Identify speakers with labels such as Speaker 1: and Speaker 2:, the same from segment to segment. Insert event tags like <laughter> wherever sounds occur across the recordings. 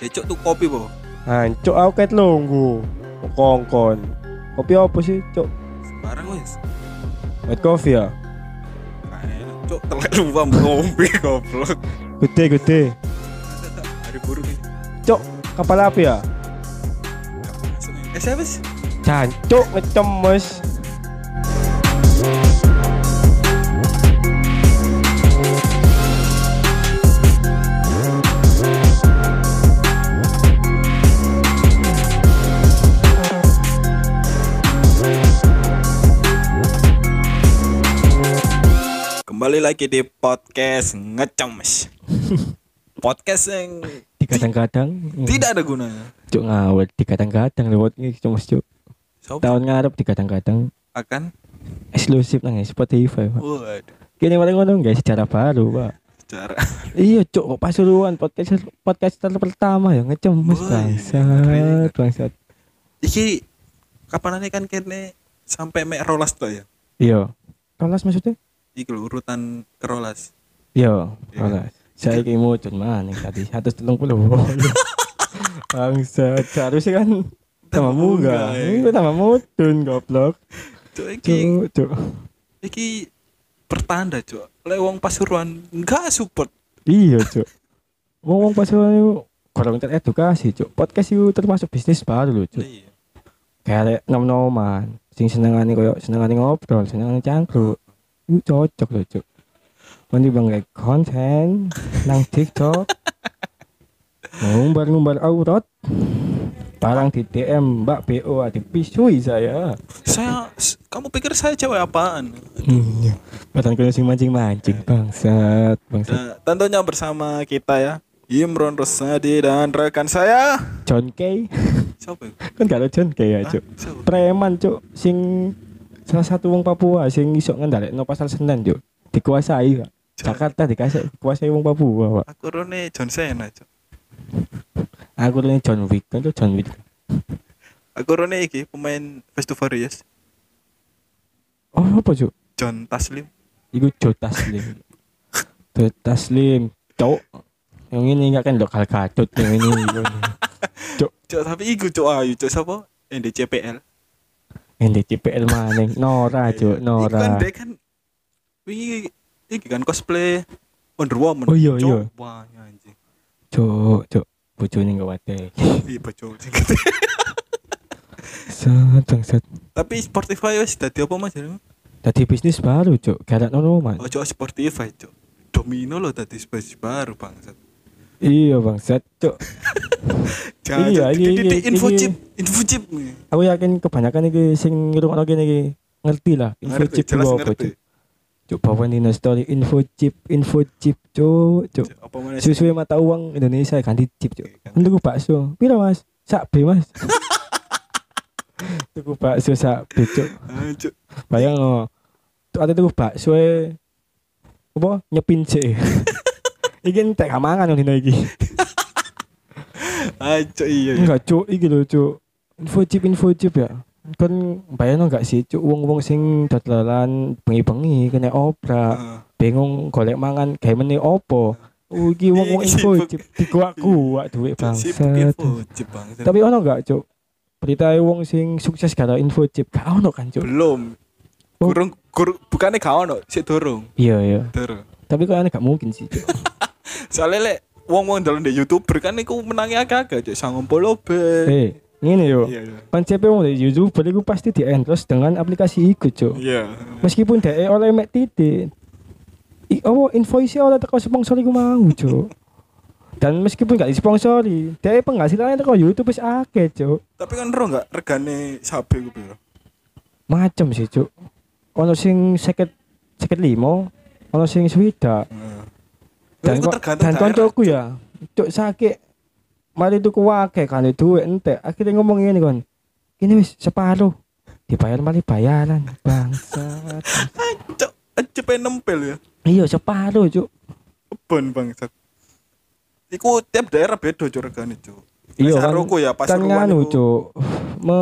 Speaker 1: Decok tuh kopi po.
Speaker 2: Hancuk aku ket lunggu. Kongkon. Kopi apa sih, Cuk?
Speaker 1: Sembarang wis.
Speaker 2: White coffee ya?
Speaker 1: Kayak cok telek ruam ngombe goblok.
Speaker 2: Gede gede.
Speaker 1: Hari buruk ini.
Speaker 2: Cuk, kepala api ya?
Speaker 1: Eh siapa sih?
Speaker 2: Jancuk ngecemes.
Speaker 1: Kembali lagi di podcast ngecemes. podcast yang
Speaker 3: Dikadang-kadang
Speaker 1: tidak ada gunanya.
Speaker 3: Cuk ngawet Dikadang-kadang lewat ini cuma cuk
Speaker 1: Siapa
Speaker 3: Tahun ngarep dikadang-kadang
Speaker 1: akan?
Speaker 3: Eksklusif nang Spotify pak
Speaker 1: Waduh,
Speaker 3: Kini mari ngono guys Sejarah baru pak
Speaker 1: cara
Speaker 3: Iya cuk kok Pasuruan podcast podcaster pertama ya ngecemes
Speaker 1: Woi,
Speaker 3: bangsat bangsat
Speaker 1: iki kapanane kan kene sampai mek rolas to ya.
Speaker 3: Iya Rolas maksudnya?
Speaker 1: Iki lho urutan kerolas.
Speaker 3: Iya
Speaker 1: Iya.
Speaker 3: rolas Saya kayak mau cuman yang tadi
Speaker 1: <laughs>
Speaker 3: 130 Bangsat Seharusnya kan Tambah
Speaker 1: Tambah munggah,
Speaker 3: munggah
Speaker 1: ya.
Speaker 3: Ini tambah mudun goblok
Speaker 1: Cok iki
Speaker 3: Cuk cuk
Speaker 1: iki pertanda cok. Lek wong Pasuruan enggak support.
Speaker 3: Iya, Cuk. Ngomong pas itu kurang teredukasi, Cuk. Podcast itu termasuk bisnis baru loh, Cuk.
Speaker 1: Iya.
Speaker 3: Kayak nom-noman, sing senengane koyo senengane ngobrol, senengane cangkruk. Itu cocok loh, Cuk. Mandi bangga konten nang TikTok. Ngumbar-ngumbar aurat. Barang di DM Mbak BO ada pisui saya.
Speaker 1: Saya s- kamu pikir saya cewek apaan?
Speaker 3: Iya. Badan kena sing mancing-mancing, bangsat, bangsat.
Speaker 1: Nah, tentunya bersama kita ya. Imron Rosadi dan rekan saya.
Speaker 3: John K.
Speaker 1: Siapa? ya?
Speaker 3: <laughs> kan gak ada John K ya,
Speaker 1: Hah?
Speaker 3: Cuk.
Speaker 1: Siapa?
Speaker 3: preman cuk sing salah satu wong Papua sing iso ngendalekno pasar Senen cuk dikuasai Pak. Jakarta dikasih kuasai wong Papua pak
Speaker 1: Aku Rone John Cena, Cok.
Speaker 3: aku ini John Wick kan tuh John Wick
Speaker 1: Aku Rone iki pemain Fast to Furious.
Speaker 3: oh apa cuk
Speaker 1: John Taslim.
Speaker 3: Iku Joe Taslim Joe Taslim cuk yang ini nggak kan lokal kadut yang ini yang ini.
Speaker 1: Cok, tapi iku Cok ayu, Cok siapa? NDCPL.
Speaker 3: yang di CPL maning Nora Ah, cuk
Speaker 1: Iku kan
Speaker 3: Nora
Speaker 1: dia kan wingi iki kan cosplay Wonder Woman.
Speaker 3: Oh, iya,
Speaker 1: Cok.
Speaker 3: iya.
Speaker 1: Wah, anjing.
Speaker 3: cuk cuk bojone gak wadah
Speaker 1: Iya, bocok.
Speaker 3: set set
Speaker 1: <laughs> tapi Spotify wis dadi apa Mas? jarene?
Speaker 3: tadi bisnis baru cuk gak ada normal
Speaker 1: Ojo Spotify, Cok. Domino lo dadi space baru, bangsat.
Speaker 3: iya bang set cuk
Speaker 1: Jangan
Speaker 3: Iya,
Speaker 1: jangan.
Speaker 3: iya, iya,
Speaker 1: Titik-titik info
Speaker 3: iya.
Speaker 1: chip, info chip.
Speaker 3: aku yakin kebanyakan iki sing ngrungokno kene iki ngerti lah info
Speaker 1: Ngerti,
Speaker 3: chip
Speaker 1: jelas
Speaker 3: itu apa,
Speaker 1: ngerti.
Speaker 3: Cuk. Cuk, bawa Nino story info chip info chip cuk cuk
Speaker 1: Cok, Apa mana? gitu.
Speaker 3: susu mata uang Indonesia ganti chip cuk
Speaker 1: Ganti.
Speaker 3: untuk bakso pira mas sak B
Speaker 1: <laughs>
Speaker 3: mas tuku bakso sak B cuk
Speaker 1: Ah, Cok.
Speaker 3: bayang oh tuh ada tuku bakso e apa nyepin
Speaker 1: <laughs>
Speaker 3: sih iki entek gak mangan loh dino iki
Speaker 1: Ah, Cok, iya. iya.
Speaker 3: Enggak cuk, iki lho cuk. Info chip info chip ya. Kan bayangno enggak sih cuk wong-wong sing dadalan bengi-bengi kena obrak,
Speaker 1: Ah.
Speaker 3: bingung golek mangan gawe meneh opo. Oh, Iki wong-wong
Speaker 1: Iya,
Speaker 3: info
Speaker 1: sibuk.
Speaker 3: chip dikuak-kuak duit
Speaker 1: Cok, sibuk
Speaker 3: bangsat.
Speaker 1: info chip, bangsat.
Speaker 3: Tapi ono enggak cuk? Berita wong sing sukses gara info chip gak ono kan cuk?
Speaker 1: belum.
Speaker 3: Oh.
Speaker 1: Kurung, kur, bukannya kau no, si dorong,
Speaker 3: Iya iya.
Speaker 1: dorong.
Speaker 3: Tapi kok aneh gak mungkin sih cuk.
Speaker 1: <laughs> Soalnya lek, wong wong dalam di youtuber kan, aku menangi agak-agak, cok sanggup polo be.
Speaker 3: Eh, ngene yo.
Speaker 1: Iya, iya.
Speaker 3: Konsepnya wong dari YouTuber iku pasti di endorse dengan aplikasi iku cuk.
Speaker 1: Iya.
Speaker 3: meskipun dhek e oleh mek titik i oh invoice oleh teko sponsor iku mau cuk dan meskipun gak disponsori dhek e penghasilannya teko YouTube wis akeh cuk
Speaker 1: Tapi kan roh nggak regane sapi gue bro.
Speaker 3: macem sih cuk ono sing seket seket limo ono sing swida dan
Speaker 1: Iku
Speaker 3: kok
Speaker 1: Ah. tergantung
Speaker 3: dan
Speaker 1: daerah.
Speaker 3: koncoku ya cuk sakit mari tuku akeh kan duit entek akhirnya ngomong ngene kon ini wis separuh dibayar mari bayaran bangsat
Speaker 1: Cok, cepet nempel ya,
Speaker 3: iya separuh cuk
Speaker 1: kebon bangsat. Iku tiap daerah beda cok regane cok.
Speaker 3: Iya kan,
Speaker 1: Saruku ya pas
Speaker 3: kan nganu cuk me,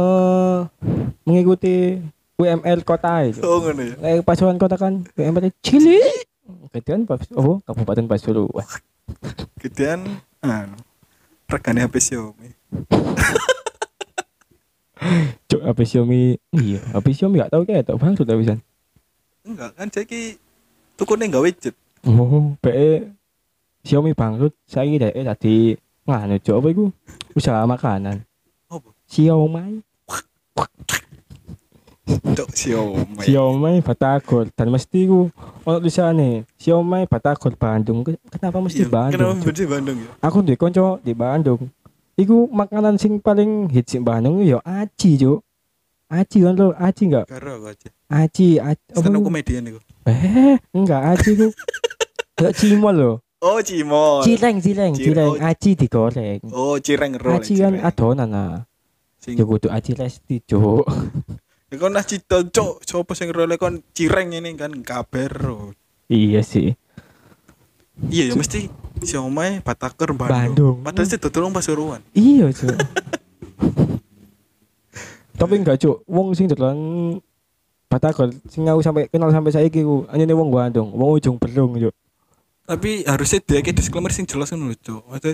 Speaker 3: mengikuti UMR kota itu.
Speaker 1: Oh ngono ya.
Speaker 3: Lek pasuruan kota kan UMR cilik. Gedean pas oh Kabupaten Pasuruan.
Speaker 1: Gedean, anu. regane HP Xiaomi.
Speaker 3: Cuk, HP Xiaomi. Iya, HP Xiaomi gak tahu kayak tak bangkrut kan. habisan.
Speaker 1: Enggak kan ceki tukune gawe jet.
Speaker 3: Oh, PE Xiaomi bangkrut. Saiki dhek tadi nganu cuk apa iku? Usaha makanan.
Speaker 1: Apa?
Speaker 3: Xiaomi,
Speaker 1: Dok Xiaomi.
Speaker 3: Xiaomi Batagor dan mesti ku ono tulisane Xiaomi Batagor Bandung. Ke- Kenapa mesti
Speaker 1: Iya, Kenapa
Speaker 3: Bandung? Cuk?
Speaker 1: mesti Bandung ya?
Speaker 3: Aku duwe kanca di Bandung. Iku makanan sing paling hits di Bandung ya aci, Cuk. Aci kan lo, aci enggak?
Speaker 1: Karo aku aja.
Speaker 3: Aci, aci. apa
Speaker 1: Stand up
Speaker 3: iku?
Speaker 1: comedian iku.
Speaker 3: Eh, enggak aci
Speaker 1: <laughs>
Speaker 3: ku. Ya cimol lo.
Speaker 1: Oh, Cimol.
Speaker 3: Cileng, cileng,
Speaker 1: Cil-
Speaker 3: cileng.
Speaker 1: oh.
Speaker 3: Aci digoreng.
Speaker 1: Oh, Cireng roll.
Speaker 3: Aci kan adonan nah.
Speaker 1: Sing
Speaker 3: Ya kudu aci resti,
Speaker 1: <laughs>
Speaker 3: Cuk.
Speaker 1: Ya, kon nah cita cok, sapa sing role kon Cireng ini kan kabar. oh.
Speaker 3: Iya sih.
Speaker 1: Iya ya mesti Xiaomi Bataker
Speaker 3: Bandung.
Speaker 1: Bandung. Padahal sih dodol Pasuruan.
Speaker 3: Iya,
Speaker 1: <laughs>
Speaker 3: Cuk. Tapi enggak, Cuk. Wong sing dolan Batagor sing aku sampai kenal sampai saiki ku anjene wong Bandung, wong ujung belung, Cuk.
Speaker 1: Tapi harusnya dia kayak disclaimer sing jelas ngono lho, cok. Maksudnya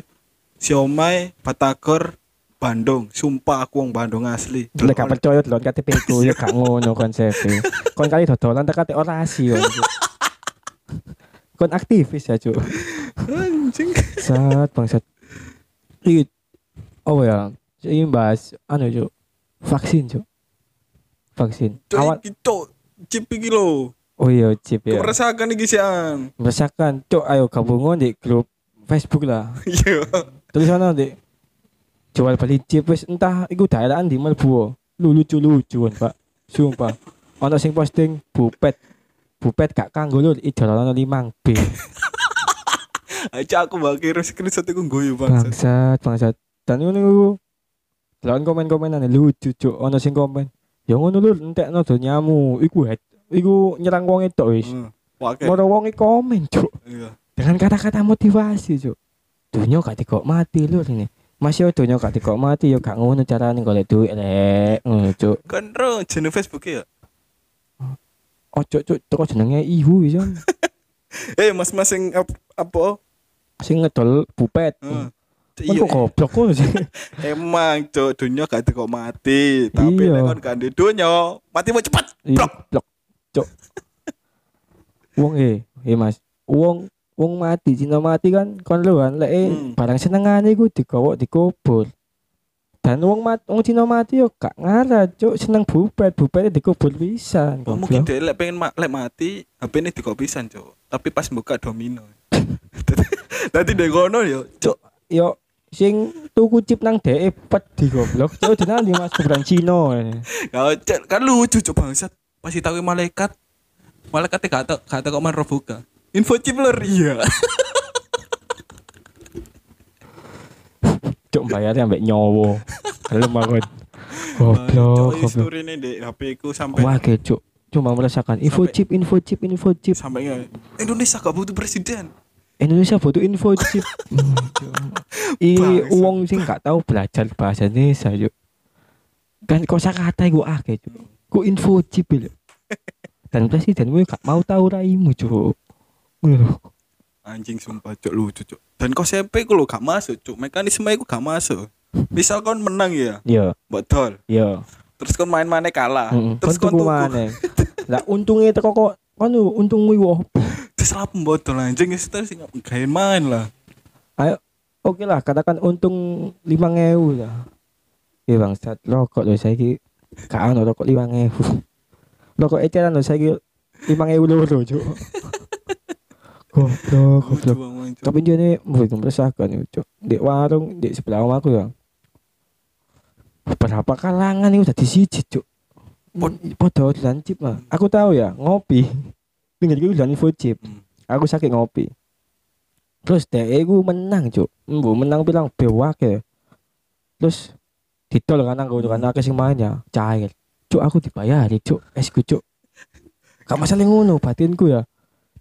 Speaker 1: Xiaomi Bataker Bandung. Sumpah aku wong Bandung asli.
Speaker 3: Lek gak percaya dolan KTP ku <laughs> ya gak ngono konsepe. Kon kali dodolan tak kate orasi kon. Cuk. Kon aktivis ya, Cuk.
Speaker 1: Anjing.
Speaker 3: Bangsat, bangsat. Iya. Oh ya, ini bahas anu cuk. Vaksin cuk. Vaksin.
Speaker 1: Cok
Speaker 3: Awal
Speaker 1: iki cok chip iki lho.
Speaker 3: oh iya chip ya.
Speaker 1: Kemeresakan iki sian.
Speaker 3: Merasakan cuk ayo gabungan di grup Facebook lah.
Speaker 1: <laughs> Iya.
Speaker 3: Terus sana di jual beli chip wis entah iku daerahan di Melbu. Lu lucu lucuan, Pak. Sumpah. Ono sing posting bupet. Bupet gak kanggo lur idolan limang B.
Speaker 1: Aja aku bakir screenshot iku guyu banget.
Speaker 3: bangsat bangsat dan ngono iku lawan komen-komenan lucu cuk ono sing komen ya ngono lho entekno donyamu iku het iku nyerang wong itu wis
Speaker 1: Hmm. Wake.
Speaker 3: moro wong komen cuk
Speaker 1: Iya.
Speaker 3: dengan kata-kata motivasi cuk dunia gak dikok mati lho ini masih dunia gak dikok mati ya gak ngono carane golek duit rek ngono cuk
Speaker 1: Kan ro jeneng Facebook ya.
Speaker 3: ojo cuk terus jenenge ihu iso
Speaker 1: Eh mas-mas sing ap- apa?
Speaker 3: sing ngedol bupet
Speaker 1: Heeh.
Speaker 3: Kan
Speaker 1: Iya.
Speaker 3: kok goblok ngono sih
Speaker 1: Emang cok dunia gak ada kok mati, tapi
Speaker 3: Iya.
Speaker 1: nek kon gak ada dunia mati mau cepet.
Speaker 3: Iya,
Speaker 1: <laughs> Blok.
Speaker 3: blok cok wong eh eh mas wong wong mati cinta mati kan kon lu kan lek eh,
Speaker 1: Hmm.
Speaker 3: barang senengane iku digawok dikubur dan wong mat wong Cina mati yo gak ngara cok seneng bupet bupet dikubur pisan
Speaker 1: Oh, mungkin
Speaker 3: goblok.
Speaker 1: dia lek pengen ma- lek mati, HP ini dikopisan cok. Tapi pas buka domino. <laughs> Tadi dia ngono yo, cok.
Speaker 3: yo sing tuku chip nang dhek pedi goblok cok tenan di mas kuburan Cina
Speaker 1: Kau cok kan lucu cok bangsat. Pas ditawi malaikat, malaikatnya gak tau gak tau kok main robuka. Info chip lur iya.
Speaker 3: cok bayarnya ambek nyowo gelem aku goblok
Speaker 1: Cok
Speaker 3: goblok
Speaker 1: story ini di HP ku sampai
Speaker 3: wah cok cuma merasakan info
Speaker 1: Sampai-
Speaker 3: chip info chip info chip
Speaker 1: sampai nge- Indonesia gak butuh presiden.
Speaker 3: Indonesia butuh info chip. I
Speaker 1: Bangsat.
Speaker 3: wong sing gak tahu belajar bahasa Indonesia yuk. Kan kosakata iku akeh, Cuk. Ku info chip lho. Dan presiden gue gak mau tahu raimu, Cuk. Ngono lho.
Speaker 1: Anjing sumpah cok lucu cok. Dan konsepnya ku lo gak masuk cok. Mekanisme ku gak masuk. Misal kon menang ya,
Speaker 3: Iya,
Speaker 1: betul.
Speaker 3: iya.
Speaker 1: Terus kon main mana kalah.
Speaker 3: Mm-mm.
Speaker 1: Terus kon
Speaker 3: tuku
Speaker 1: tuku.
Speaker 3: maneh. Ah, <laughs> Lah untunge teko kok kan untungmu iku opo?
Speaker 1: Terus lah pembotol anjing itu terus nggak gain main lah.
Speaker 3: Ayo oke lah katakan untung 5000 lah. Ya bangsat rokok lho saiki gak ono rokok 5000. <laughs> Rokok eceran lho saiki 5000 loro cuk. Goblok,
Speaker 1: Lucu
Speaker 3: Oh, goblok.
Speaker 1: banget cok.
Speaker 3: Gitu. Tapi jane mbuh meresahkan cuk. Di warung di sebelah omahku ya. Berapa kalangan itu tadi siji cuk.
Speaker 1: Pod-
Speaker 3: Podo dolan chip lah. Aku tahu ya, ngopi. Pinggirku dolan info chip
Speaker 1: Hmm.
Speaker 3: aku sakit ngopi terus DE ku menang cuk bu menang bilang bewak ya terus ditol kan aku kan akeh sing mainnya cair cuk aku dibayari cuk es ku cuk gak masalah ngono batinku ya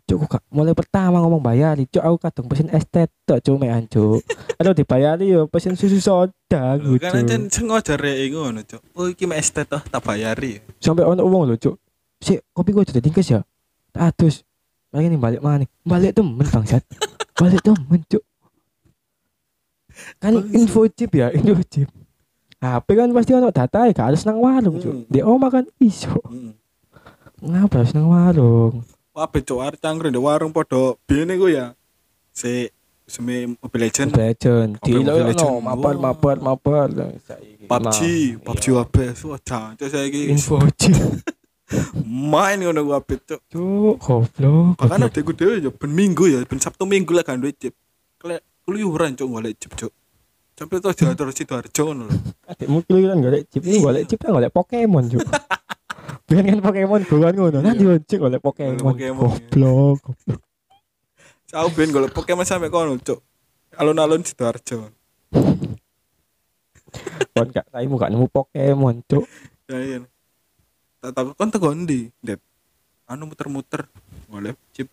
Speaker 3: cuk aku gak mulai pertama ngomong bayari cuk aku kadung pesen es teh tok cuk mean cuk aduh dibayari yo pesen susu soda
Speaker 1: Lu
Speaker 3: gitu
Speaker 1: Kan aja sengaja rek ngono cok. Oh iki mek estet toh tak bayari.
Speaker 3: sampai ono uang lho cuk si kopi gue jadi tingkes ya terus lagi nih balik mana balik temen bangsat balik temen cuk kan info chip ya info chip HP kan pasti ono data ya gak harus nang warung cuk
Speaker 1: Hmm.
Speaker 3: di oma kan iso
Speaker 1: Heeh.
Speaker 3: ngapa harus nang warung
Speaker 1: Wabe cok arek cangkruk di warung podo bene ku ya. Si semi Mobile Legend,
Speaker 3: Mobile Legend
Speaker 1: Oke,
Speaker 3: di
Speaker 1: Mobile
Speaker 3: lo
Speaker 1: Legend.
Speaker 3: no mapar
Speaker 1: Wah.
Speaker 3: mapar mapar
Speaker 1: PUBG,
Speaker 3: Nah,
Speaker 1: PUBG
Speaker 3: iya.
Speaker 1: wabe. Wah, jancuk saiki
Speaker 3: info chip
Speaker 1: main ngono ku wabe cok.
Speaker 3: cuk goblok
Speaker 1: Bahkan
Speaker 3: goblok.
Speaker 1: adekku dhewe ya ben minggu ya, ben Sabtu Minggu lah gak duwe chip. Kelek keluyuran cok golek chip cok. Sampai tuh jalan Sidoarjo ngono lho.
Speaker 3: Adikmu keluyuran kan golek chip, lu golek chip kan golek Pokemon juga. <laughs> Biar kan Pokemon gue ngono, nanti ojek golek Pokemon.
Speaker 1: Golek Pokemon,
Speaker 3: iya. Goblok. goblok.
Speaker 1: Aku ben golek Pokemon sampe kono cok. Alun-alun Sidoarjo.
Speaker 3: Kon gak taimu gak nemu Pokemon, cuk.
Speaker 1: Ya iya. Tak tahu kon teko ndi, Dep? Anu muter-muter golek chip.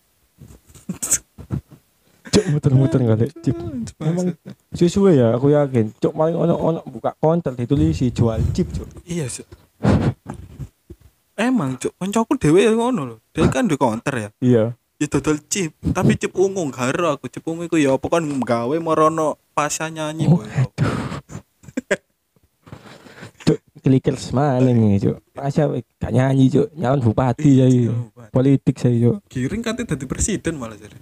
Speaker 3: Cuk muter-muter golek chip. Emang
Speaker 1: Emang
Speaker 3: sesuai ya, aku yakin. Cuk paling ono ono buka konter ditulis jual chip, cuk.
Speaker 1: iya sih. Emang cok, koncoku dhewe ya ngono lho. Dhewe kan duwe counter ya.
Speaker 3: Iya.
Speaker 1: Ya dodol chip, tapi chip ungu karo aku chip ungu iku ya apa kon gawe marono pasnya nyanyi
Speaker 3: Oh,
Speaker 1: boy.
Speaker 3: Cuk klikers maning cuk. Masa gak nyanyi, cuk. Nyalon bupati ya
Speaker 1: Iya,
Speaker 3: iya. Politik saya, cuk.
Speaker 1: Giring katanya dadi presiden malah jadi.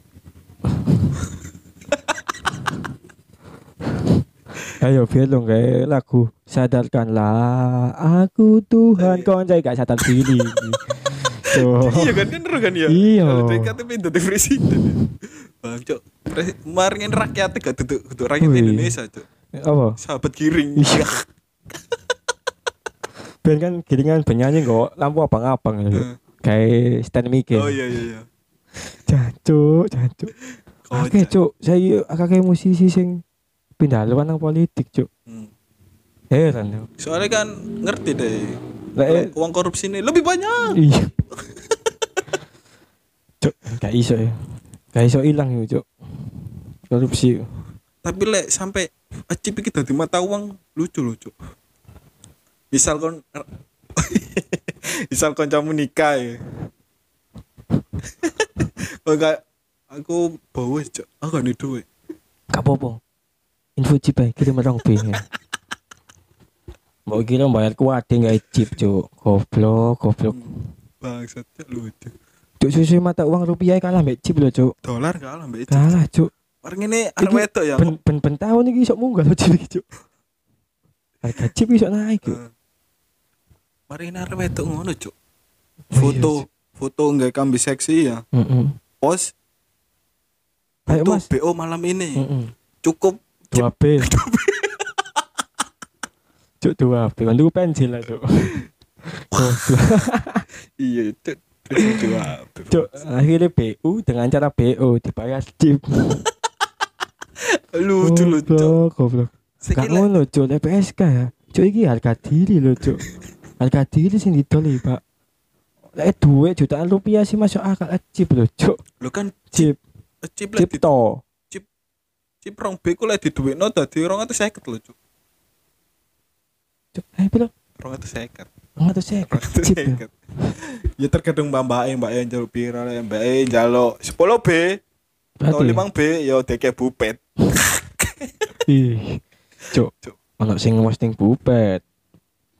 Speaker 3: Ayo biar dong kayak lagu Sadarkanlah aku
Speaker 1: Eh.
Speaker 3: Tuhan Kawan saya gak sadar
Speaker 1: <laughs>
Speaker 3: diri Tuh
Speaker 1: Iya kan kan ero kan ya.
Speaker 3: Oh. Iya.
Speaker 1: Kalau dhewe katanya dadi presiden. ya. Bang cok, pres- kemarin rakyat gak duduk duduk rakyat
Speaker 3: Wih.
Speaker 1: Indonesia cok.
Speaker 3: Apa?
Speaker 1: Sahabat giring.
Speaker 3: Oh, Iya. Ben kan giringan penyanyi kok Lampu abang-abang
Speaker 1: Heeh.
Speaker 3: gitu Kayak stand mic
Speaker 1: Hmm. Oh iya iya iya.
Speaker 3: Jancuk Jancuk
Speaker 1: Kocak.
Speaker 3: Oke cuk Saya kakek musisi sing Pindah luar nang politik cuk
Speaker 1: Hmm.
Speaker 3: Heran
Speaker 1: <laughs>
Speaker 3: cuk
Speaker 1: Soalnya kan ngerti deh.
Speaker 3: Lah, eh,
Speaker 1: Uang korupsi ini lebih banyak.
Speaker 3: Iya Cuk Gak iso ya Gak iso hilang ya cuk Korupsi
Speaker 1: Tapi lek sampai acip iki dadi mata uang lucu lucu. Misal kon er- <laughs> misal kancamu nikah ya. <laughs> Kok gak aku bawa cok. Aku gak ada duit.
Speaker 3: Gak apa-apa. Info chip ae kirim orang B. ya. <laughs> Mbok kira bayar kuwate gak chip, Cuk. Goblok, goblok.
Speaker 1: Bangsat Cuk, lucu.
Speaker 3: Cuk susu mata uang rupiah kalah mbek chip lho, Cuk.
Speaker 1: Dolar gak lah mbak Eci.
Speaker 3: Kalah, Cuk.
Speaker 1: Orang ini arek
Speaker 3: Kan. Iki
Speaker 1: wedok ya.
Speaker 3: Ben ben ben tahun iki iso munggah lho chip iki, Cuk. Harga chip iso naik, Cuk.
Speaker 1: Heeh. Mari ini arek wedok ngono cok.
Speaker 3: iya,
Speaker 1: Foto foto nggak kambi seksi ya.
Speaker 3: Heeh.
Speaker 1: Pos
Speaker 3: Ayo,
Speaker 1: Tuh,
Speaker 3: Mas. Hmm.
Speaker 1: BO malam ini
Speaker 3: Heeh.
Speaker 1: cukup
Speaker 3: <laughs> 2B. Cuk 2B. Kan tuku pensil lah, Cuk.
Speaker 1: iya
Speaker 3: <laughs>
Speaker 1: itu
Speaker 3: Cuk, akhirnya BU dengan cara BO dibayar chip.
Speaker 1: lucu lucu
Speaker 3: Goblok, goblok. Gak
Speaker 1: sekali
Speaker 3: ngono cuk, lek PSK ya. Cuk iki harga diri lho cuk. Harga diri sing didoli, Pak. Lek duwe jutaan rupiah sih masuk akal eh, chip lho cuk.
Speaker 1: lo kan
Speaker 3: Chip,
Speaker 1: eh, chip lah
Speaker 3: chip
Speaker 1: di
Speaker 3: to.
Speaker 1: chip rong beku lah di duit no tadi rong atau seket lo cuk
Speaker 3: Cuk, eh piro?
Speaker 1: rong atau seket <laughs>
Speaker 3: 150 chip. ya.
Speaker 1: ya terkadang mbak mbak mbak yang jaluk pira lah mbak yang jaluk sepuluh b atau
Speaker 3: Berarti. ya.
Speaker 1: limang b yo deke bupet
Speaker 3: Ih. Cuk.
Speaker 1: Cuk.
Speaker 3: Ono sing posting bupet.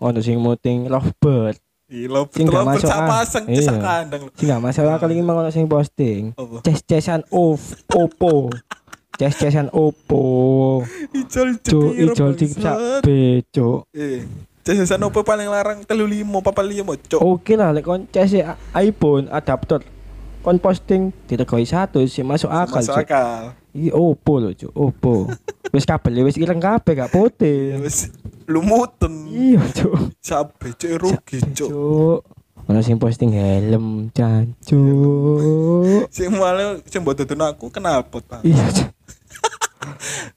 Speaker 3: Ono sing moting lovebird.
Speaker 1: Ilo
Speaker 3: Sing gak
Speaker 1: terlalu
Speaker 3: masuk
Speaker 1: bersama
Speaker 3: akal.
Speaker 1: sang
Speaker 3: Iya.
Speaker 1: sang kandang
Speaker 3: Sing gak masalah kali ini ono sing posting.
Speaker 1: apa
Speaker 3: Ces-cesan of Oppo. Ces-cesan Oppo.
Speaker 1: ijol
Speaker 3: Cuk,
Speaker 1: cepiro,
Speaker 3: ijol chip
Speaker 1: bangsat.
Speaker 3: sak B, cuk.
Speaker 1: eh jajasan apa paling larang telu limo papa limo cuk
Speaker 3: Oke lah, lek kon CS ya, iPhone adaptor kon posting ditegoi satu sih masuk akal.
Speaker 1: masuk
Speaker 3: Cuk.
Speaker 1: akal
Speaker 3: Iki Oppo lho, Cuk.
Speaker 1: <laughs>
Speaker 3: Oppo. wis kabel wis ireng kabeh gak
Speaker 1: Ya
Speaker 3: putih.
Speaker 1: wis lumuten.
Speaker 3: Iya, Cuk.
Speaker 1: Sabe cuk eh, rugi cuk.
Speaker 3: Cuk. Ono sing posting helm, Jan. Cuk.
Speaker 1: Sing male sing mbok dodon aku knalpot Pak.
Speaker 3: Iya,
Speaker 1: <laughs>
Speaker 3: Cuk.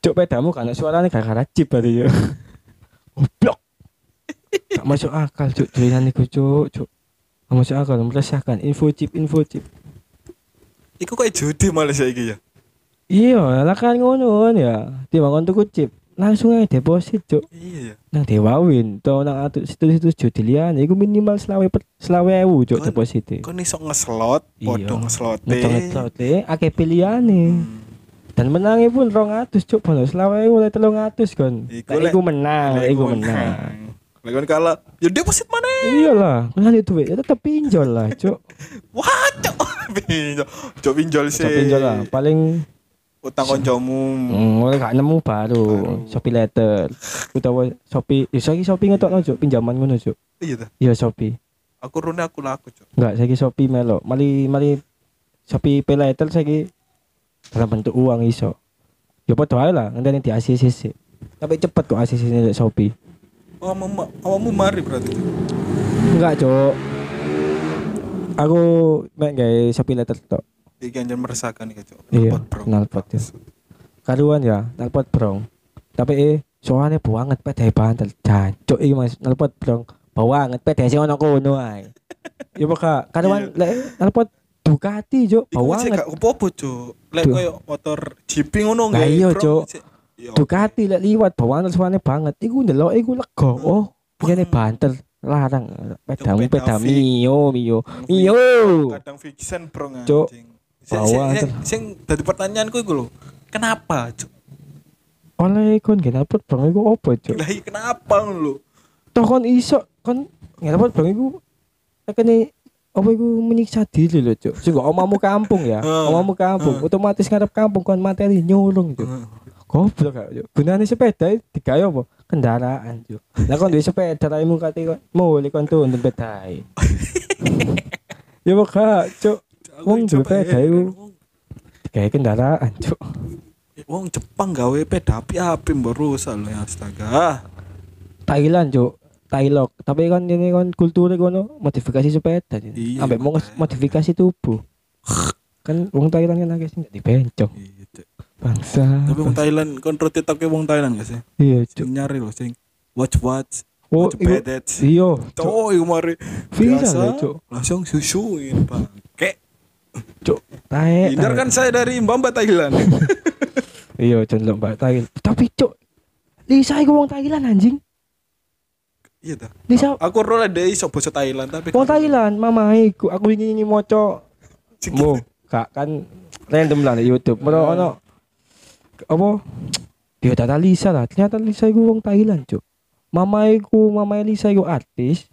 Speaker 3: Cuk pedamu kan suarane gara-gara chip berarti ya. Goblok. Gak masuk akal, Cuk. Tulisan iku, Cuk, Cuk. Gak masuk akal, meresahkan. Info chip, info chip.
Speaker 1: Iku kayak judi malah saiki ya.
Speaker 3: Iya, lah kan ngono kan ya. Dibangun tuku chip, langsung aja deposit, Cuk.
Speaker 1: Iya.
Speaker 3: Nang Dewawin, to nang atu- situs-situs judi liane iku minimal selawe per selawe ewu, Cuk,
Speaker 1: Kan-
Speaker 3: deposit. e.
Speaker 1: Kon iso ngeslot,
Speaker 3: Iya.
Speaker 1: padha ngeslote. Hmm.
Speaker 3: Hmm. Ngecong-ngecong akeh pilihane. dan menangnya pun 200 cuk bolos lawan iku oleh 300 kon
Speaker 1: Iku
Speaker 3: Lah,
Speaker 1: lek-
Speaker 3: iku menang lek Nah, iku
Speaker 1: Iku
Speaker 3: menang
Speaker 1: Lek kon kalah, ya deposit mana?
Speaker 3: iyalah kan itu duit ya tetep pinjol lah <laughs> cuk
Speaker 1: Wah, cok. <laughs> Pinjol. Cok pinjol sih.
Speaker 3: tetep pinjol lah paling
Speaker 1: Utang koncomu.
Speaker 3: Hmm, oleh gak nemu baru,
Speaker 1: Baru.
Speaker 3: Shopee letter. Utawa Shopee, ya saiki Shopee ngetokno Cuk, pinjaman ngono Cuk.
Speaker 1: Iya ta.
Speaker 3: Iya Shopee.
Speaker 1: Aku rune aku laku, cok.
Speaker 3: Enggak, saiki Shopee melok. Mali mali Shopee pay letter saiki dalam bentuk uang iso. Ya padha ae lah, nanti di ACCC. Tapi cepet kok ACCC di Shopee.
Speaker 1: Awakmu awakmu mari berarti. Cuk.
Speaker 3: Enggak, Cuk. Aku mek gawe Shopee letter tok.
Speaker 1: Iki anjir meresahkan iki, cok.
Speaker 3: Iya,
Speaker 1: Nalpot, bro.
Speaker 3: nalpot ya. Karuan ya, nalpot brong. Tapi eh, soalnya banget pedai banter. Jancuk iki Mas, nalpot brong. Bawanget pedai sing ono kono ae. Ya maka karuan lek nalpot Ducati, Cuk.
Speaker 1: Iya. Iku sih
Speaker 3: Bawanget.
Speaker 1: gak apa-apa, cok. Lek
Speaker 3: Duh.
Speaker 1: koyo motor jeeping ngono
Speaker 3: Lah
Speaker 1: nggih,
Speaker 3: iya,
Speaker 1: bro.
Speaker 3: Cuk.
Speaker 1: Sik. Iya.
Speaker 3: Ducati lek liwat bawanget suarane banget. Iku ndelok iku lega. Oh,
Speaker 1: Bang.
Speaker 3: ngene banter larang. Pedamu
Speaker 1: peda
Speaker 3: peda
Speaker 1: fix.
Speaker 3: mio mio. Mio.
Speaker 1: kadang fiction bro anjing.
Speaker 3: Cuk,
Speaker 1: Sing-
Speaker 3: bawah,
Speaker 1: sing- sing
Speaker 3: Cuk.
Speaker 1: sing dadi pertanyaanku iku lho. Kenapa, cok?
Speaker 3: Oleh kon gak nalpot brong iku opo, Cuk?
Speaker 1: Lah iya kenapa ngono lho?
Speaker 3: toh kon iso kon nggak dapat bang iku tekene apa iku menyiksa diri lho cuk sing kok omamu kampung ya
Speaker 1: Heeh.
Speaker 3: omamu kampung otomatis ngarep kampung kon materi nyolong cuk goblok gak cuk gunane sepeda digawe apa kendaraan cuk lah kon duwe sepeda raimu kate kon mulai kon tuntun
Speaker 1: <laughs>
Speaker 3: pedae e. ya gak cuk
Speaker 1: Aku
Speaker 3: wong duwe
Speaker 1: coba,
Speaker 3: sepeda
Speaker 1: eh,
Speaker 3: iku
Speaker 1: wong-
Speaker 3: digawe kendaraan cuk
Speaker 1: Wong Jepang gawe peda api-api mbok rusak lho astaga.
Speaker 3: Thailand cuk Thailand tapi kan ini kan kulturnya kono modifikasi sepeda
Speaker 1: Iya,
Speaker 3: ambek mau
Speaker 1: makanya.
Speaker 3: modifikasi tubuh kan wong Thailand kan akeh sing dadi bencong
Speaker 1: Iya, Cuk.
Speaker 3: bangsa
Speaker 1: Tapi wong Thailand kon roti toke wong Thailand gak sih?
Speaker 3: iya
Speaker 1: Sing
Speaker 3: cuk
Speaker 1: nyari lho sing watch watch
Speaker 3: oh
Speaker 1: watch
Speaker 3: iya
Speaker 1: bedet.
Speaker 3: iya cuk
Speaker 1: Cowok iku mari
Speaker 3: Viral
Speaker 1: biasa,
Speaker 3: lho, Cuk.
Speaker 1: langsung susuin bangke.
Speaker 3: cuk tae
Speaker 1: Hindar
Speaker 3: tae.
Speaker 1: kan saya dari Mbamba
Speaker 3: <laughs>
Speaker 1: Thailand.
Speaker 3: iya jendelok mbak Thailand tapi cuk Lisa iku wong Thailand anjing
Speaker 1: Iya ta.
Speaker 3: Lisa
Speaker 1: Aku rola dari iso basa Thailand tapi kan-
Speaker 3: wong Thailand mamae iku aku ingin ingin moco
Speaker 1: Sikit. Ah.
Speaker 3: Mo, kak kan random lah di YouTube. Mero ono apa? Dia tata Lisa lah. Ternyata Lisa iku wong Thailand, Cuk. Mama iku, mama Lisa iku artis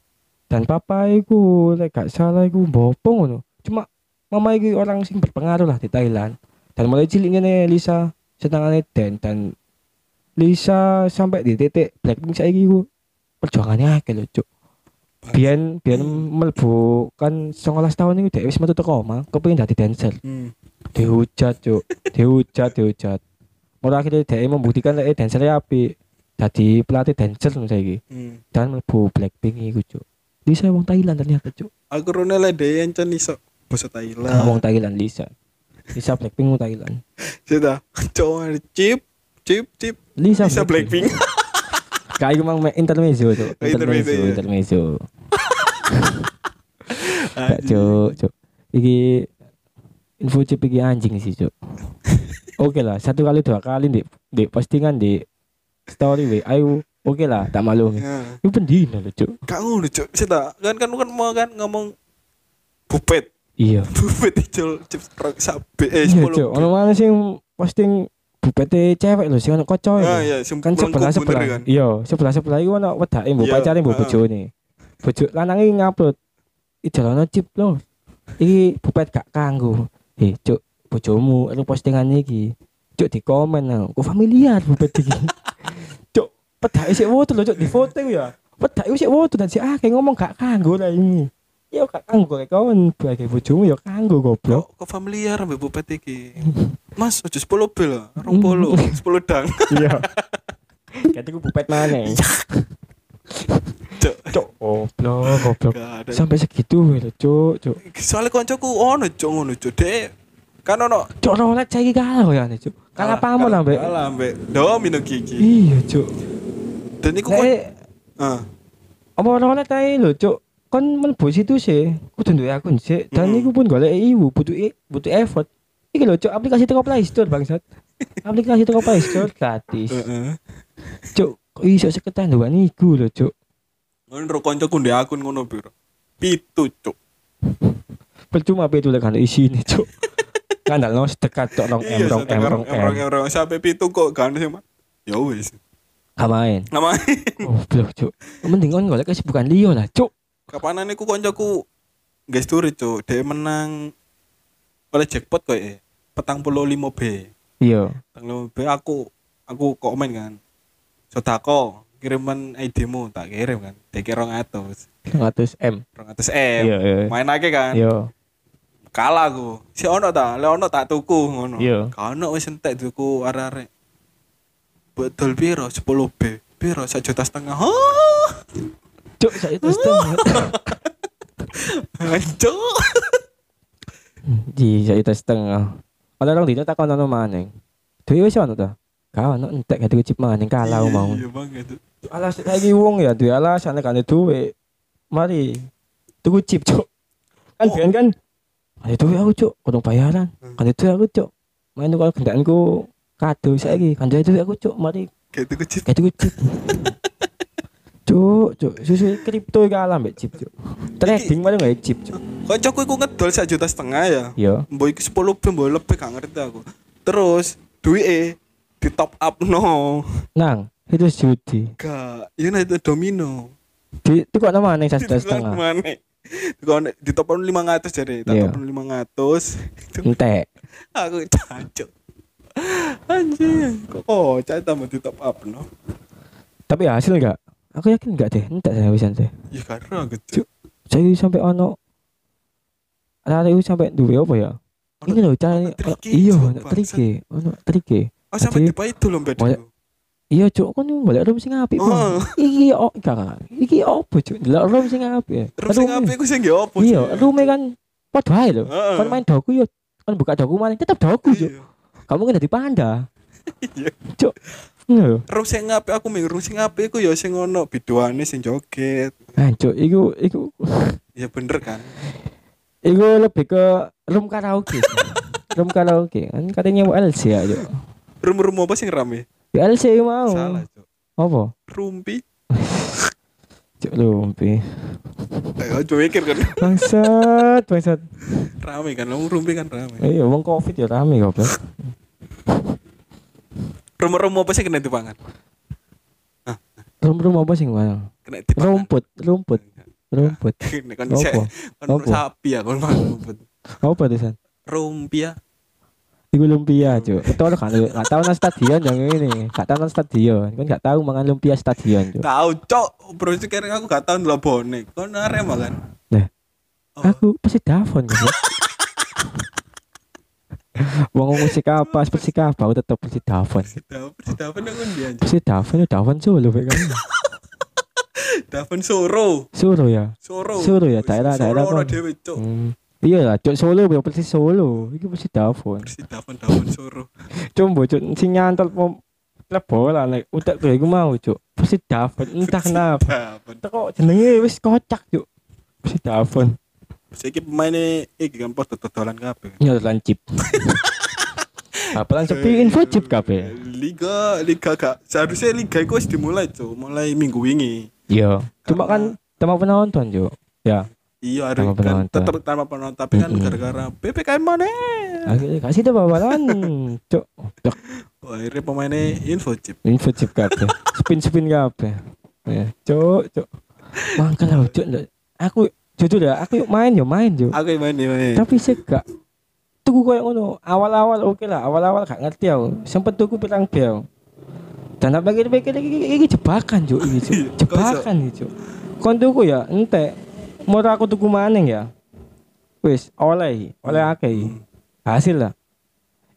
Speaker 3: dan papa iku lek gak salah iku bopong ngono. Cuma mama iku orang sing berpengaruh lah di Thailand. Dan mulai cilik ngene Lisa senangane dan dan Lisa sampai di titik Blackpink saiki iku perjuangannya akeh lho, Cuk. Biyen biyen mlebu kan 19 tahun iku dhek wis metu teko omah, kepengin dadi dancer.
Speaker 1: Hmm.
Speaker 3: dihujat cuk dihujat dihujat mulai akhirnya dia membuktikan lek dancer api jadi pelatih dancer nih saiki
Speaker 1: hmm.
Speaker 3: dan mlebu Blackpink iku cuk Lisa wong Thailand ternyata cuk
Speaker 1: Aku rola dari encen iso basa
Speaker 3: nah. wong
Speaker 1: Thailand.
Speaker 3: Thailand Lisa Lisa Blackpink wong Thailand
Speaker 1: Iya ta. Cowok chip chip chip
Speaker 3: Lisa,
Speaker 1: bisa Blackpink.
Speaker 3: kayak iku mang me- intermezzo cuk
Speaker 1: Oh, intermezzo,
Speaker 3: intermezzo
Speaker 1: iya.
Speaker 3: intermezzo <laughs> gak cuk cuk iki info chip iki anjing sih
Speaker 1: <laughs>
Speaker 3: cuk oke lah satu kali dua kali di, di postingan di story we ayo oke lah tak malu
Speaker 1: Ya.
Speaker 3: Itu pendina lho, Cuk.
Speaker 1: Gak ngono, Cuk. Sik ta. Kan kan kan mau kan ngomong <laughs> bupet.
Speaker 3: Iya.
Speaker 1: Bupet ijol chips rok sabe eh
Speaker 3: Iya,
Speaker 1: 10.
Speaker 3: Cuk. Ono mana sing posting bupete cewek lho sing ono kocok.
Speaker 1: Ah
Speaker 3: itu.
Speaker 1: iya, gitu sing
Speaker 3: Kan
Speaker 1: pelengkung
Speaker 3: sebelah
Speaker 1: bener
Speaker 3: sebelah. Iya, sebelah sebelah iku ono wedake mbok
Speaker 1: Iya,
Speaker 3: pacare mbok
Speaker 1: heeh.
Speaker 3: bojone. Bojo lanange ngupload. Ijalono chip lho. Iki bupet gak kanggo. Eh, Cuk, bojomu elu postingan iki. Cuk di komen lho. Ku familiar bupet iki. <laughs> Cuk, pedake sik wotu lho, Cuk, di foto iku ya. Pedake iku sik wotu dan sik akeh ngomong gak kanggo lah ini. Ya gak kanggo kayak kawan, bagi bojomu ya kanggo goblok. <laughs>
Speaker 1: Kok kok familiar ambek bupet iki. Mas, ojo 10 bel lah,
Speaker 3: <laughs>
Speaker 1: 20, 10 dang.
Speaker 3: Iya. Kayak tuh pupet mana?
Speaker 1: Cuk.
Speaker 3: Cok, goblok, goblok.
Speaker 1: Gak ada.
Speaker 3: Sampai segitu lho, cok, cok.
Speaker 1: Soale koncoku ono, Cuk, ngono, Cuk. Dek kan ono
Speaker 3: Cok rolet saya kalah kok ya, cok. Kalah pamor lah, Mbak.
Speaker 1: Kalah ambek domino gigi.
Speaker 3: Iya, cok.
Speaker 1: Dan iku kon
Speaker 3: Nek
Speaker 1: ah,
Speaker 3: apa rolet ae lho, cok. Kon mlebu situ sih, kudu duwe akun sih. Dan
Speaker 1: Mm.
Speaker 3: iku pun golek iwu, butuh i- butuh effort. Iki lho, cok, aplikasi teko Play Store, bangsat. aplikasi teko Play Store gratis.
Speaker 1: heeh.
Speaker 3: Cok, kok iso seketanduan iku lho, cok.
Speaker 1: Ngono ro koncoku ndek akun ngono, Bro. Pitu, Cuk.
Speaker 3: percuma apa itu kan isi ini cuk skandal no sedekat tok rong M
Speaker 1: Iya,
Speaker 3: rong
Speaker 1: satu
Speaker 3: M
Speaker 1: karo-
Speaker 3: rong M.
Speaker 1: em, rong em. sampai pitu kok gak ada sih, Mak. Ya wis.
Speaker 3: Ngapain?
Speaker 1: Nama
Speaker 3: Oh, blok, Cuk. Mending kon golek kesibukan liya lah, Cuk.
Speaker 1: <laughs> kapanan iku koncoku guys turi cuk, dia menang oleh jackpot kok ya. Petang puluh lima B.
Speaker 3: Iya.
Speaker 1: Petang puluh B aku aku komen kan. Sodako kiriman ID mu tak kirim kan. Dikira rong atus.
Speaker 3: 100 M.
Speaker 1: Rong atus M.
Speaker 3: Iya, iya.
Speaker 1: Main aja kan.
Speaker 3: Iya.
Speaker 1: kalah aku si ono ta le ono tak tuku ngono
Speaker 3: Iya.
Speaker 1: Ka ono wis entek tuku arek-arek betul piro 10 b piro sak juta setengah oh
Speaker 3: Cuk, saya terus <laughs> setengah.
Speaker 1: anjo
Speaker 3: Di saya terus setengah. Ada orang dino takon ono maning. Duwe wis ono ta? Ka ono entek gak diucip maning kalah mau.
Speaker 1: iya banget tuh
Speaker 3: Alas lagi wong ya duwe alasan nek ane duwe. Mari. Tuku chip, Cuk. Kan
Speaker 1: Oh.
Speaker 3: biyen kan ane duwe aku, Cuk. Kudu bayaran. Kan itu aku, Cuk. Main tuku kendaraanku kado saiki. Kan itu aku, Cuk. Mari
Speaker 1: kayak tuku chip
Speaker 3: Kayak itu chip. Cuk, cuk, susu kripto iki kalah mbek chip, cuk. Trading malah nggak chip, cuk. Iya.
Speaker 1: kocokku iku ngedol sak juta setengah ya
Speaker 3: Yo.
Speaker 1: mbok iki 10 b mbok lebih gak ngerti aku terus duwe di top up no
Speaker 3: Nang, itu judi.
Speaker 1: gak iya nah, itu domino
Speaker 3: Di itu kok nama aneh satu
Speaker 1: Ditukar
Speaker 3: setengah.
Speaker 1: mana Ditukar- di top up 500 jadi tak
Speaker 3: Iya.
Speaker 1: top up 500
Speaker 3: Entek.
Speaker 1: aku cacok anjing oh cacok tambah di top up no
Speaker 3: Tapi hasil enggak? Aku yakin enggak deh, entek saya bisa deh.
Speaker 1: ya karena gitu
Speaker 3: Saya sampai ono Lari sampai duwe apa ya?
Speaker 1: Ono-
Speaker 3: Ini loh cari
Speaker 1: ono triki,
Speaker 3: iya,
Speaker 1: Cuk,
Speaker 3: ono triki, ono triki.
Speaker 1: oh sampai
Speaker 3: Jadi-
Speaker 1: tiba itu loh beda
Speaker 3: Banyak- Iya, cuk, kon yang golek room sing apik, Bang.
Speaker 1: Oh.
Speaker 3: Iki oh, kakak. Iki opo, cuk? Delok room sing apik.
Speaker 1: terus yang
Speaker 3: Room-
Speaker 1: apa aku sih nggak apa
Speaker 3: iya rume kan padha ae lho
Speaker 1: Heeh.
Speaker 3: kon main doku yo kon buka doku malah tetep doku yo kamu kan jadi panda
Speaker 1: Iya.
Speaker 3: cuk Iya.
Speaker 1: terus yang ngape aku ming terus yang ngape aku ya sing ngono biduane sing joget
Speaker 3: Ah, cuk, iku iku
Speaker 1: ya bener kan
Speaker 3: iku lebih ke room karaoke room karaoke kan katanya mau LC ya cuk
Speaker 1: rumah-rumah apa sing rame
Speaker 3: ya LC iku mau
Speaker 1: salah cok
Speaker 3: apa
Speaker 1: rumpi
Speaker 3: cuk lumpi
Speaker 1: aku cuma mikir kan
Speaker 3: bangsat bangsat
Speaker 1: rame kan ngomong rumpi kan rame
Speaker 3: iya wong covid ya rame goblok
Speaker 1: rumah-rumah apa sih kena dipangan
Speaker 3: room room apa sih mana
Speaker 1: kena dipangan
Speaker 3: rumput rumput rumput
Speaker 1: kena kan
Speaker 3: apa
Speaker 1: kan
Speaker 3: Apa?
Speaker 1: sapi ya kan makan rumput
Speaker 3: apa tuh san
Speaker 1: rumpia
Speaker 3: Iku lumpia cuy. Betul kan? Gak tahu nang stadion yang ini. Gak tahu nang stadion. Kan gak tahu mangan lumpia stadion cuy.
Speaker 1: tahu cok bro sih kira aku gak tahu ndelok bonek kau narem kan
Speaker 3: Nah.
Speaker 1: Oh.
Speaker 3: Aku pasti dafon gitu. Wong ngomong musik apa? Musik apa? Aku tetep pasti dafon.
Speaker 1: Daven si Daven aku dia anjing.
Speaker 3: Pasti dafon ya dafon solo Pak, kan.
Speaker 1: Daven Soro
Speaker 3: Solo ya.
Speaker 1: Soro
Speaker 3: Soro ya, daerah- daerah
Speaker 1: Soro
Speaker 3: kan.
Speaker 1: dhewe cok
Speaker 3: Hmm. Iya lah, cuk solo ya pasti solo. Iki pasti dafon.
Speaker 1: si Daven Daven Soro
Speaker 3: Cumbo cuk sing nyantol pom lebol lah nek utek tuh iku mau cuk. Pasti dafon entah kenapa.
Speaker 1: Daven
Speaker 3: Kok jenenge wis kocak cuk. Pasti dafon.
Speaker 1: saiki pemaine iki kan podo dodolan kabeh
Speaker 3: nyodolan chip apalan sepi info chip kabeh
Speaker 1: Liga Liga gak seharusnya Liga itu harus dimulai cok mulai minggu wingi
Speaker 3: iya cuma kan tema penonton yo ya
Speaker 1: iya harus kan
Speaker 3: Tanpa penonton.
Speaker 1: tetap tanpa penonton tapi kan
Speaker 3: Mm-mm.
Speaker 1: gara-gara PPKM mana
Speaker 3: akhirnya kasih tuh bawalan cok Dok,
Speaker 1: Oh, akhirnya pemainnya info chip
Speaker 3: info chip kabeh spin spin kabeh ya cok cok mangkel lah cok ndak- aku jujur ya aku yuk main yo main yo
Speaker 1: aku yang main yang main
Speaker 3: tapi segak tuku koyo ngono awal-awal oke lah awal-awal gak ngerti aku sempet tuku pirang bel dan apa pikir-pikir iki iki- iki jebakan cuk iki cuk
Speaker 1: Iya,
Speaker 3: jebakan iki cuk kon tuku ya entek murah aku tuku maning ya wis oleh oleh akeh hasil lah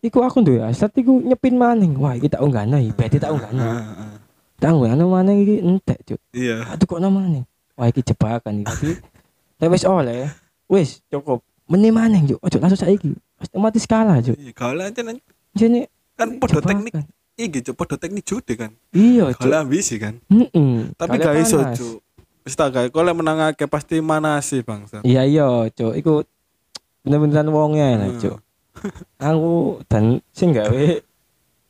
Speaker 3: iku aku duwe hasil iku nyepin maning wah iki tak unggahna iki beti tak unggahna
Speaker 1: <laughs> Ah, ah.
Speaker 3: tak unggahna maning iki entek cuk
Speaker 1: iya
Speaker 3: Aduh kok namanya? Wah iki jebakan iki. Tapi tapi wis oleh. Wis cukup. Meni maning yuk. Ojo langsung saiki. Otomatis kalah yuk.
Speaker 1: Iya, kalau aja kan
Speaker 3: Jene
Speaker 1: kan podo
Speaker 3: jebakan.
Speaker 1: teknik iki cuk podo teknik jude kan.
Speaker 3: Iya, Cuk.
Speaker 1: Kalau ambisi kan.
Speaker 3: Heeh.
Speaker 1: Tapi
Speaker 3: Kalah
Speaker 1: gak iso
Speaker 3: panas.
Speaker 1: cuk. Wis tak gawe kalau menang akeh pasti mana sih bangsa.
Speaker 3: Iya iya, Cuk. Iku ya,
Speaker 1: Hmm.
Speaker 3: bener-beneran wongnya lah, Cuk. Aku dan sing gawe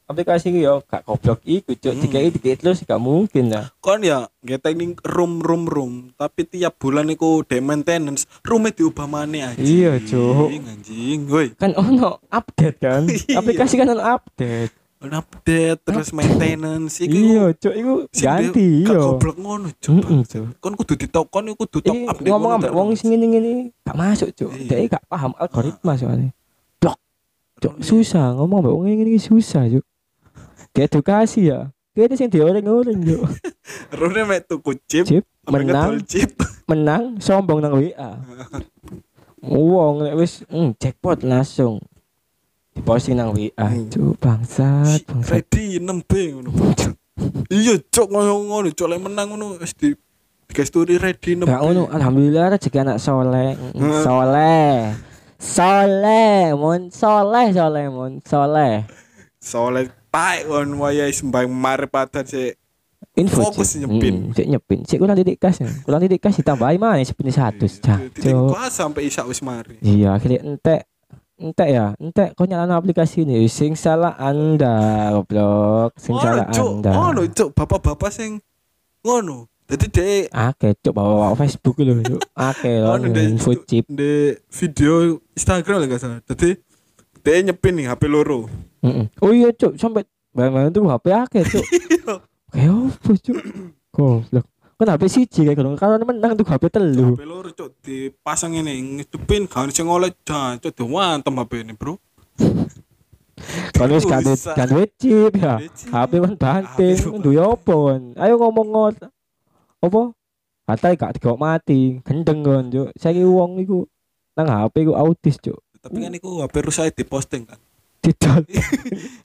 Speaker 3: aplikasi iki yo gak goblok iku cuk
Speaker 1: Hmm.
Speaker 3: dikai dikai terus gak mungkin lah
Speaker 1: kon ya nggak teknik room room room tapi tiap bulan iku de maintenance roomnya diubah maneh anjing
Speaker 3: Iya, Cuk.
Speaker 1: anjing woi
Speaker 3: kan ono update
Speaker 1: <laughs>
Speaker 3: kan
Speaker 1: Iya.
Speaker 3: aplikasi kan ono update
Speaker 1: update terus maintenance iku
Speaker 3: iya cuk iku
Speaker 1: sing
Speaker 3: ganti
Speaker 1: dia gak
Speaker 3: iya
Speaker 1: goblok ngono coba
Speaker 3: Heeh, cuk
Speaker 1: kon kudu ditop kon iku kudu top
Speaker 3: Iki
Speaker 1: up
Speaker 3: ngomong ambek Iya, wong sing ngene-ngene gak masuk cuk
Speaker 1: Iya.
Speaker 3: dhek gak paham algoritma soalnya cuk susah ngomong ambek wong ngene iki susah cuk edukasi ya kita sing dioring-oring cuk
Speaker 1: rune mek tuku chip
Speaker 3: Chip,
Speaker 1: ambek
Speaker 3: menang.
Speaker 1: ngedol chip
Speaker 3: menang sombong nang WA wong nek wis mm, jackpot langsung diposting nang WA
Speaker 1: Hmm.
Speaker 3: cuk bangsat
Speaker 1: Si-
Speaker 3: bangsat
Speaker 1: ready 6B ngono iya cok ngono ngono cok lek menang ngono wis di guys story ready 6B
Speaker 3: Gak ngono, alhamdulillah rezeki anak soleh.
Speaker 1: Heeh.
Speaker 3: Soleh. Soleh, mon soleh soleh mon soleh.
Speaker 1: soalnya taek kon waya sembang marepatan sik
Speaker 3: Info
Speaker 1: Fokus nyepin.
Speaker 3: Mm, cek nyepin. Cek kurang titik kas. Kurang titik kas ditambahi mana sepin 100. Cak.
Speaker 1: Iya, titik
Speaker 3: Cuk.
Speaker 1: kelas sampai isak wis mari
Speaker 3: Iya, akhirnya entek entek ya, entek kau nyalain aplikasi ini. Sing salah Anda, goblok. Sing
Speaker 1: ngono
Speaker 3: salah
Speaker 1: cok
Speaker 3: Anda.
Speaker 1: ngono cok bapak-bapak sing ngono dadi dhek
Speaker 3: Ake, cuk bawa Facebook lho, cuk. Ake, lho,
Speaker 1: Ono, Dek.
Speaker 3: info chip.
Speaker 1: di video Instagram lah gak salah jadi dia nyepin nih HP loro
Speaker 3: Mm-mm. Oh iya, cuk, sampai barang-barang tuh HP ake,
Speaker 1: <laughs>
Speaker 3: cuk. Kayak apa, cuk? Goblok. Kan HP siji kayak kalau kalau menang tuh HP
Speaker 1: <laughs>
Speaker 3: telu.
Speaker 1: HP loro cok dipasang ini ngecepin gak sing oleh dah cok diwantem HP ini bro
Speaker 3: Kan wis
Speaker 1: Gak
Speaker 3: kan
Speaker 1: usah.
Speaker 3: kan duwe chip ya.
Speaker 1: Duwe chip.
Speaker 3: HP kan banting,
Speaker 1: HP kan
Speaker 3: duwe apa kan? Ayo ngomong ngot. Apa? Hatai gak digok mati, gendeng kan, cuk. Saiki wong iku nang HP ku autis, cuk.
Speaker 1: tapi kan itu HP rusak diposting kan
Speaker 3: Didol.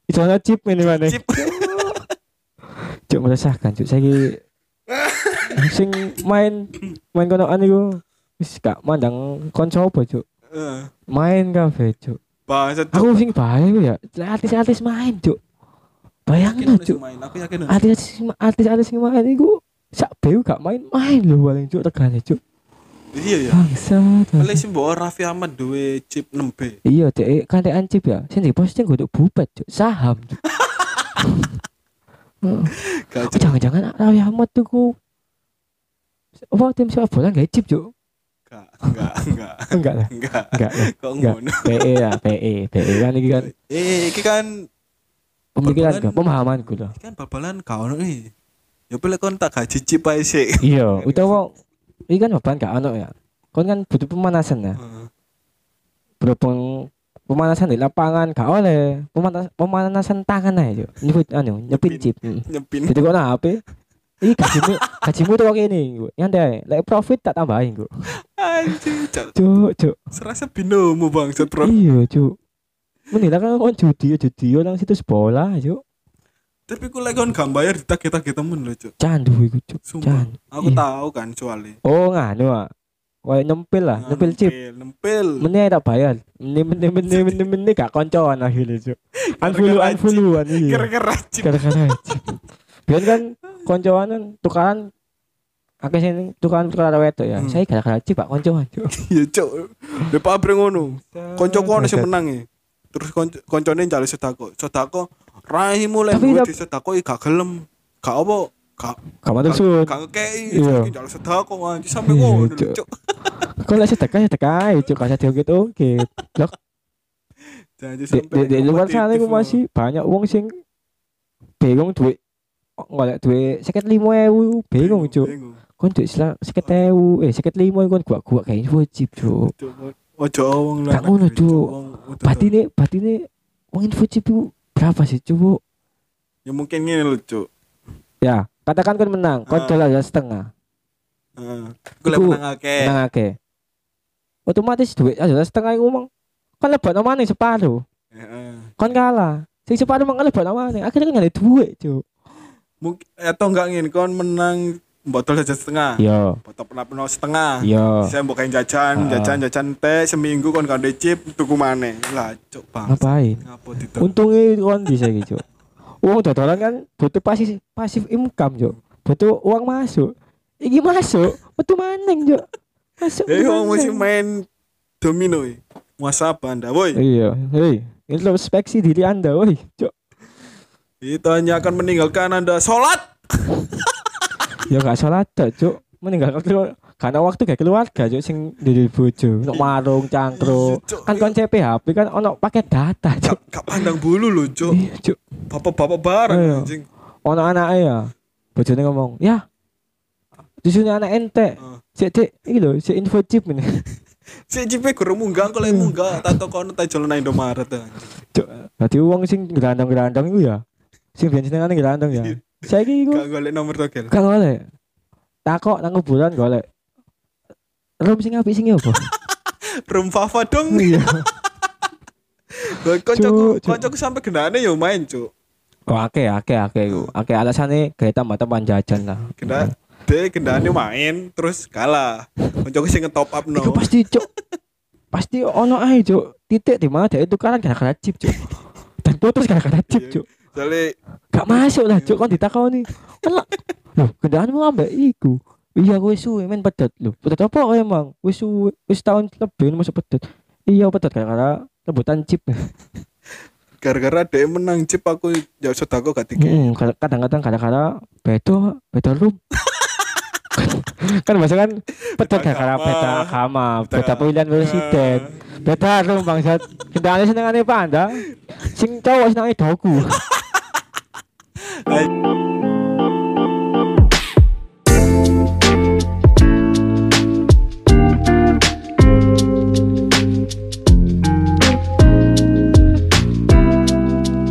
Speaker 3: Iso ana chip ngene maneh.
Speaker 1: Chip.
Speaker 3: Cuk meresahkan, cuk. Saiki sing main main konoan iku wis gak mandang konco apa, cuk.
Speaker 1: <laughs> Eh,
Speaker 3: Main kabeh, cuk.
Speaker 1: bangsat cok
Speaker 3: aku sing bahaya ku ya artis-artis main cuk
Speaker 1: Yakin
Speaker 3: bayangin lo
Speaker 1: ada
Speaker 3: cuk
Speaker 1: yang main, kan aku yakin ada.
Speaker 3: artis artis-artis yang main iku sak beu gak main-main lho paling cuk tegane cuk
Speaker 1: iya ya
Speaker 3: bangsa
Speaker 1: Oleh sih bawa Raffi Ahmad duwe chip 6B
Speaker 3: iya dek kan dek ancip ya sing di posting gue bubat cuk saham cuk Heeh.
Speaker 1: gak
Speaker 3: Oh,
Speaker 1: cok
Speaker 3: jangan-jangan Rawi Ahmad tuh ku apa tim sepak bola gak chip cuk
Speaker 1: gak enggak enggak
Speaker 3: enggak lah
Speaker 1: enggak
Speaker 3: enggak lah
Speaker 1: kok
Speaker 3: Enggak.
Speaker 1: ngono
Speaker 3: PE lah PE PE kan ini kan
Speaker 1: eh iki kan
Speaker 3: pemikiran
Speaker 1: Perbulan-
Speaker 3: gak pemahaman gue
Speaker 1: iki kan bal-balan gak ono nih ya pilih kon tak gaji chip aja sih
Speaker 3: iya utawa ini kan beban gak ono ya kon kan butuh pemanasan ya
Speaker 1: Heeh.
Speaker 3: berhubung pemanasan di lapangan gak oleh pemanasan, pemanasan tangan aja yuk nyebut anu nyepin chip Mm.
Speaker 1: nyepin
Speaker 3: jadi kau apa ini gajimu <laughs> gajimu tuh kayak ini gue nyantai lek profit tak tambahin gue
Speaker 1: Anjing, cok.
Speaker 3: cuk cuk
Speaker 1: Serasa binomo bangsat, Bro.
Speaker 3: iya cuk menilai kan kon judi judi orang situs bola cuk
Speaker 1: Tapi ku lek kon gak bayar ditagih-tagih temen lho, Cuk.
Speaker 3: candu iku cuk
Speaker 1: Sumpah.
Speaker 3: candu
Speaker 1: Aku
Speaker 3: Iya.
Speaker 1: tahu kan soalnya.
Speaker 3: oh nganu ah Kayak nyempil lah nyempil chip
Speaker 1: Nempel.
Speaker 3: Mene tak bayar. Mene mene mene mene mene gak koncoan akhirnya cuk. Unfollow
Speaker 1: Gara-gara
Speaker 3: unfollowan iya.
Speaker 1: Gara-gara chip.
Speaker 3: Gara-gara aja. Biar kan koncoan kan tukaran akeh sing tukaran tukaran wetok ya.
Speaker 1: Hmm.
Speaker 3: Saya gara-gara chip Pak koncoan cuk.
Speaker 1: <laughs> Iya, Cuk. Di pabrik ngono. Koncoku ono sing menang ya. Terus konco- koncone njale sedako. Sedako rai mulai gue
Speaker 3: Tapi tap-
Speaker 1: di sedako i gak gelem. Gak apa. Gak gak-
Speaker 3: Kamu tuh sun.
Speaker 1: gak ngekei.
Speaker 3: Iya.
Speaker 1: Saking njale sedako anjing sampe
Speaker 3: Iya,
Speaker 1: ngono lho,
Speaker 3: Cuk.
Speaker 1: Cuk.
Speaker 3: Kok lek sedekah sedekah ae, cuk gak usah diungkit-ungkit. Loh,
Speaker 1: Janji
Speaker 3: di,
Speaker 1: sampe
Speaker 3: di, di luar
Speaker 1: kompetitif
Speaker 3: sana iku
Speaker 1: ngono.
Speaker 3: masih banyak wong sing bingung duit golek duit 55000 bingung cuk.
Speaker 1: Bingung.
Speaker 3: Kon duit sela- 50000 eh 55000 kon gua-gua kayak wajib cuk.
Speaker 1: Cuk, Ojo wong
Speaker 3: Gak ngono,
Speaker 1: negeri,
Speaker 3: Cuk.
Speaker 1: Wong udah-
Speaker 3: batine batine wong info chip iku berapa sih cuk
Speaker 1: Ya mungkin ngene lho, Cuk.
Speaker 3: ya katakan kan menang
Speaker 1: Ah.
Speaker 3: kon dolar ya setengah
Speaker 1: Gue lagi
Speaker 3: Iku Nah.
Speaker 1: menang akeh.
Speaker 3: menang akeh otomatis duit dolar setengah iku mong kon lebok nama nih separuh
Speaker 1: Heeh.
Speaker 3: kon kalah sing separuh mong lebok nama nih akhirnya kan gak ada duit cuk
Speaker 1: Mungkin atau enggak ngene kon menang botol saja setengah.
Speaker 3: yo
Speaker 1: Botol penapno
Speaker 3: Iya.
Speaker 1: setengah.
Speaker 3: yo
Speaker 1: Saya bukain jajan,
Speaker 3: Oh. Ah.
Speaker 1: jajan, jajan teh seminggu kon gak ada chip tuku maneh. Lah, cuk, Bang.
Speaker 3: ngapain
Speaker 1: Ngapo ditu?
Speaker 3: untungnya kon bisa gitu cuk uang dodolan kan butuh pasif pasif income cuk butuh uang masuk iki masuk metu maning cuk masuk
Speaker 1: Eh, wong
Speaker 3: maning.
Speaker 1: mesti main domino. eh.
Speaker 3: Eh.
Speaker 1: Muasabah Anda, woi.
Speaker 3: Iya, hei, introspeksi diri Anda, woi. Cuk.
Speaker 1: itu hanya akan meninggalkan anda sholat
Speaker 3: ya gak salah tok, cuk meninggalkan keluar karena waktu gak keluarga cuk sing di bojo nok marung cangkruk
Speaker 1: Iya, Cuk.
Speaker 3: kan kon CPHP kan ono pakai data
Speaker 1: gak,
Speaker 3: cuk
Speaker 1: gak pandang bulu loh cuk
Speaker 3: Iya, cuk
Speaker 1: bapak-bapak bareng
Speaker 3: Iya.
Speaker 1: anjing
Speaker 3: ono anake ya bojone ngomong ya disuruh anak ente
Speaker 1: Ah.
Speaker 3: cek cek iki lho cek info chip ini <laughs>
Speaker 1: si JP kurang munggah kalau yang
Speaker 3: Eh.
Speaker 1: munggah tato kono tak jalan nang Indomaret eh, anjing
Speaker 3: cuk dadi wong sing gerandang-gerandang iku ya sing biyen senengane gerandang ya saiki iku
Speaker 1: Iya. gak golek nomor togel
Speaker 3: gak golek takok nang kuburan golek room sing apik sing ya, apa
Speaker 1: room fafa dong <laughs>
Speaker 3: iya
Speaker 1: kocokku
Speaker 3: Cuk, cuk.
Speaker 1: kocokku sampai gendane yo main cuk
Speaker 3: Oh, oke, oke, oke, iku. oke. Alasannya kayak tambah tambahan jajan lah.
Speaker 1: Genda, dia gendane main terus kalah. Kocokku sing ngetop up no.
Speaker 3: Iku pasti cuk. pasti ono ae cuk. Titik di mana dia itu kan gara-gara chip cuk. Dan putus gara-gara chip
Speaker 1: Iya.
Speaker 3: cuk.
Speaker 1: Soale
Speaker 3: Gak masuk lah cuk kon ditakoni. Kelak. Loh, kendaraanmu ambek iku. Iya kowe suwe men pedet lho. Pedet apa kowe emang? Wis suwe, wis tahun lebih masuk pedet. Iya pedet gara-gara rebutan chip.
Speaker 1: gara-gara dia menang chip aku ya sedaku gak tiga.
Speaker 3: Mm, kad- kadang-kadang gara-gara beda beda
Speaker 1: <laughs>
Speaker 3: room. kan bahasa kan beda
Speaker 1: Beda
Speaker 3: gara-gara
Speaker 1: agama.
Speaker 3: beda agama,
Speaker 1: Beda-
Speaker 3: beda pilihan presiden, beda room bangsat. Kendalanya senengane panda, sing cowok senengane doku.